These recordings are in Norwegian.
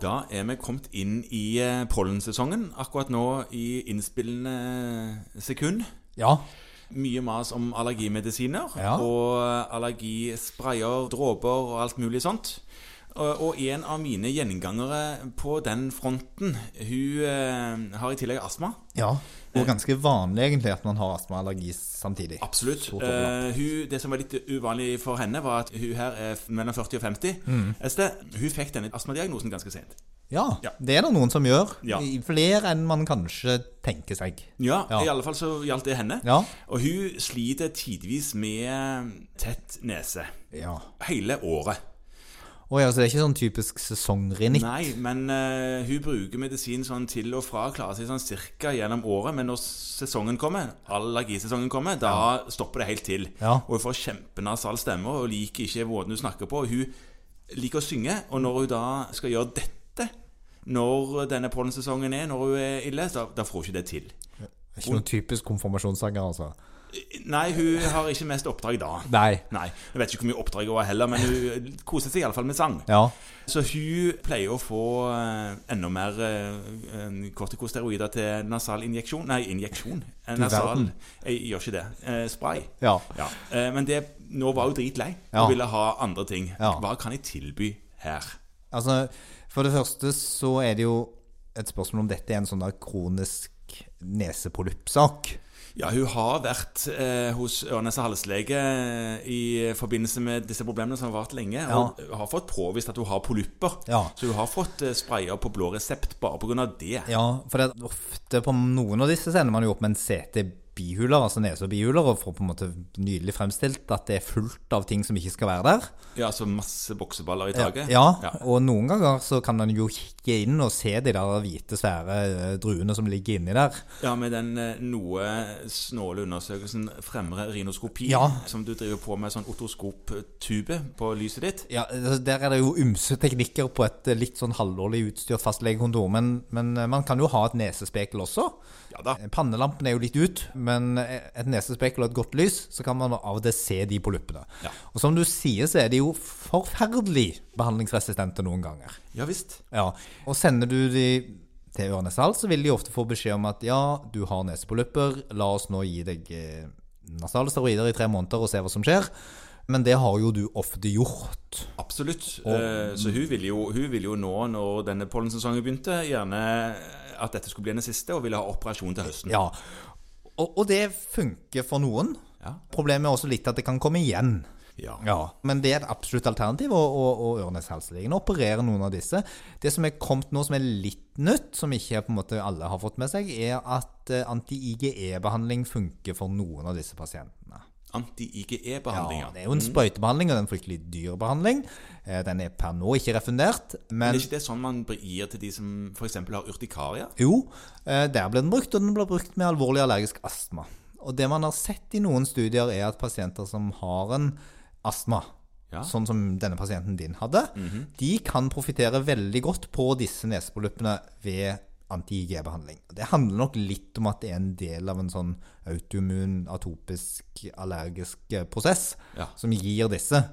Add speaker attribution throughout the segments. Speaker 1: Da er vi kommet inn i eh, pollensesongen. Akkurat nå i innspillende sekund.
Speaker 2: Ja.
Speaker 1: Mye mas om allergimedisiner
Speaker 2: Ja.
Speaker 1: og allergisprayer, dråper og alt mulig sånt. Og og en av mine gjengangere på den fronten, hun eh, har i tillegg astma.
Speaker 2: ja. Og ganske vanlig egentlig at man har astma og allergi samtidig.
Speaker 1: Absolutt.
Speaker 2: Stort overlapp.
Speaker 1: Eh, hun, det som var litt uvanlig for henne, var at hun her er f- mellom 40 og 50. Este, hun fikk denne astmadiagnosen ganske sent.
Speaker 2: Ja,
Speaker 1: Ja.
Speaker 2: det er det noen som gjør.
Speaker 1: Ja.
Speaker 2: I- Flere enn man kanskje tenker seg.
Speaker 1: Ja,
Speaker 2: Ja.
Speaker 1: i alle fall så gjaldt det henne.
Speaker 2: Ja.
Speaker 1: Og hun sliter tidvis med tett nese.
Speaker 2: ja.
Speaker 1: Hele året.
Speaker 2: Og ja, så det er ikke sånn typisk sesongrinnikk.
Speaker 1: Nei, men eh, hun bruker medisin sånn til og fra, klarer seg sånn cirka gjennom året. Men når sesongen kommer, allergisesongen kommer, da stopper det helt til.
Speaker 2: Ja.
Speaker 1: Og hun får kjempenasal stemme og liker ikke måten hun snakker på. Og hun liker å synge, og når hun da skal gjøre dette når denne pollensesongen er, når hun er ille, da, da får hun ikke det til.
Speaker 2: Det er Ikke noen typisk konfirmasjonssanger, altså.
Speaker 1: Nei, hun har ikke mest oppdrag da.
Speaker 2: Nei.
Speaker 1: Nei, Jeg vet ikke hvor mye oppdrag hun har heller, men hun koser seg iallfall med sang.
Speaker 2: Ja.
Speaker 1: Så hun pleier å få eh, enda mer eh, eh, kortikosteroider til nasal injeksjon Nei, injeksjon. Eh,
Speaker 2: Du
Speaker 1: Nasal.
Speaker 2: verden.
Speaker 1: Jeg gjør ikke det. Eh, Spray.
Speaker 2: Ja.
Speaker 1: Ja. Eh, Men det, nå var hun dritlei.
Speaker 2: Ja.
Speaker 1: Hun ville ha andre ting.
Speaker 2: Ja.
Speaker 1: Hva kan jeg tilby her?
Speaker 2: Altså, for det første så er det jo et spørsmål om dette er en sånn der kronisk nesepolyppsak.
Speaker 1: Ja, hun har vært eh, hos Ørnes halslege eh, i forbindelse med disse problemene som har vart lenge, og har fått påvist at hun har polypper.
Speaker 2: Ja.
Speaker 1: Så hun har fått eh, sprayer på blå resept bare pga. det.
Speaker 2: Ja, for det er ofte på noen av disse så ender man jo opp med en CT-bihuler, altså nese- og bihuler, og får på en måte nydelig fremstilt at det er fullt av ting som ikke skal være der.
Speaker 1: Ja, så masse bokseballer i
Speaker 2: Ja,
Speaker 1: taket.
Speaker 2: og noen ganger så kan man jo kikke inn og se de der hvite, svære eh, druene som ligger inni der.
Speaker 1: Ja, med den eh, noe snåle undersøkelsen fremre rinoskopi,
Speaker 2: Ja.
Speaker 1: som du driver på med sånn otoskoptube på lyset ditt.
Speaker 2: Ja, altså, Der er det jo ymse teknikker på et eh, litt sånn halvårlig utstyrt fastlegekontor, men, men eh, man kan jo ha et nesespekel også.
Speaker 1: Ja da.
Speaker 2: Eh, Pannelampen er jo litt ut, men eh, et nesespekel og et godt lys, så kan man av og til se de på luppene.
Speaker 1: Ja.
Speaker 2: Og som du sier, så er de jo forferdelig behandlingsresistente noen ganger.
Speaker 1: Ja visst.
Speaker 2: Ja, og sender du de til Ørnes Hals, så vil de ofte få beskjed om at ja, du har nesepolypper, la oss nå gi deg eh, nasale steroider i tre måneder og se hva som skjer. Men det har jo du ofte gjort.
Speaker 1: Absolutt. Eh, Så hun ville, jo, hun ville jo nå, når denne pollensesongen begynte, gjerne at dette skulle bli den siste, og ville ha operasjon til høsten.
Speaker 2: Ja, og, og det funker for noen.
Speaker 1: Ja.
Speaker 2: Problemet er også litt at det kan komme igjen.
Speaker 1: Ja.
Speaker 2: Men det er et absolutt alternativ, og, og, og Ørnes helselegen opererer noen av disse. Det som er kommet nå som er litt nytt, som ikke på en måte alle har fått med seg, er at eh, anti-IGE-behandling funker for noen av disse pasientene. Ja,
Speaker 1: Anti-IGE-behandlinger.
Speaker 2: det er jo en sprøytebehandling, og det er en fryktelig dyr behandling. Eh, Den er per nå ikke refundert,
Speaker 1: Men
Speaker 2: men
Speaker 1: er ikke det sånn man gir til de som f.eks. har urtikaria?
Speaker 2: Jo, eh, der ble den brukt, og den ble brukt med alvorlig allergisk astma. Og det man har sett i noen studier, er at pasienter som har en astma,
Speaker 1: Ja. Mhm.
Speaker 2: sånn som denne pasienten din hadde, de kan profitere veldig godt på disse nesepolyppene ved anti-IG-behandling. Det handler nok litt om at det er en del av en sånn autoimmun, atopisk, allergisk eh, prosess
Speaker 1: Ja.
Speaker 2: som gir disse.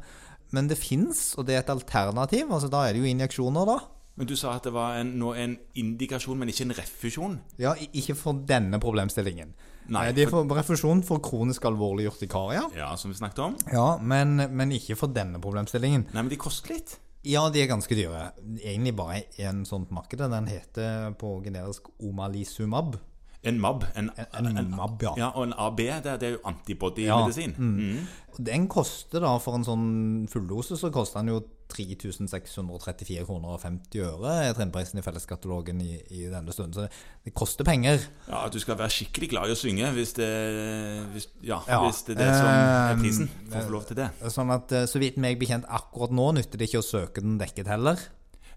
Speaker 2: Men det fins, og det er et alternativ. altså Da er det jo injeksjoner, da.
Speaker 1: Men du sa at det var en, nå en indikasjon, men ikke en refusjon.
Speaker 2: Ja, i- ikke for denne problemstillingen.
Speaker 1: Nei,
Speaker 2: Eh, De får refusjon for kronisk alvorlig urtikaria.
Speaker 1: Ja, som vi snakket om.
Speaker 2: Ja, men, men ikke for denne problemstillingen.
Speaker 1: Nei, men de koster litt.
Speaker 2: Ja, de er ganske dyre. Egentlig bare en sånn marked. Den heter på generisk omalizumab.
Speaker 1: En MAB. En,
Speaker 2: En mab, ja.
Speaker 1: ja, og en AB, det, det er jo antibody-medisin.
Speaker 2: Mm. Den koster da, for en sånn fulldose, så koster den jo 3634 kroner og 50 øre. er Trinnprisen i felleskatalogen i, i denne stunden. Så det, det koster penger.
Speaker 1: Ja, at du skal være skikkelig glad i å synge hvis det, hvis, ja,
Speaker 2: Ja.
Speaker 1: hvis det er det som er prisen. Får få lov til det.
Speaker 2: Sånn at eh, så vidt meg bekjent akkurat nå nytter det ikke å søke den dekket heller.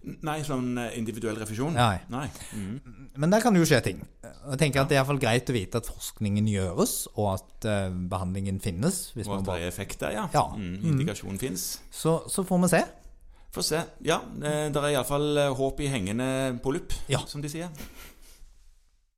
Speaker 1: Nei, sånn eh, individuell refusjon.
Speaker 2: Nei.
Speaker 1: Mm.
Speaker 2: Men der kan det jo skje ting. Jeg tenker at Det er i hvert fall greit å vite at forskningen gjøres, og at eh, behandlingen finnes. Hvis
Speaker 1: Og
Speaker 2: man
Speaker 1: at det
Speaker 2: bare...
Speaker 1: er effekt der, ja.
Speaker 2: Ja.
Speaker 1: Mm, indikasjon fins.
Speaker 2: så, så får vi se.
Speaker 1: eh, Få se. Ja, det er iallfall håp i hengende polypp,
Speaker 2: Ja.
Speaker 1: som de sier.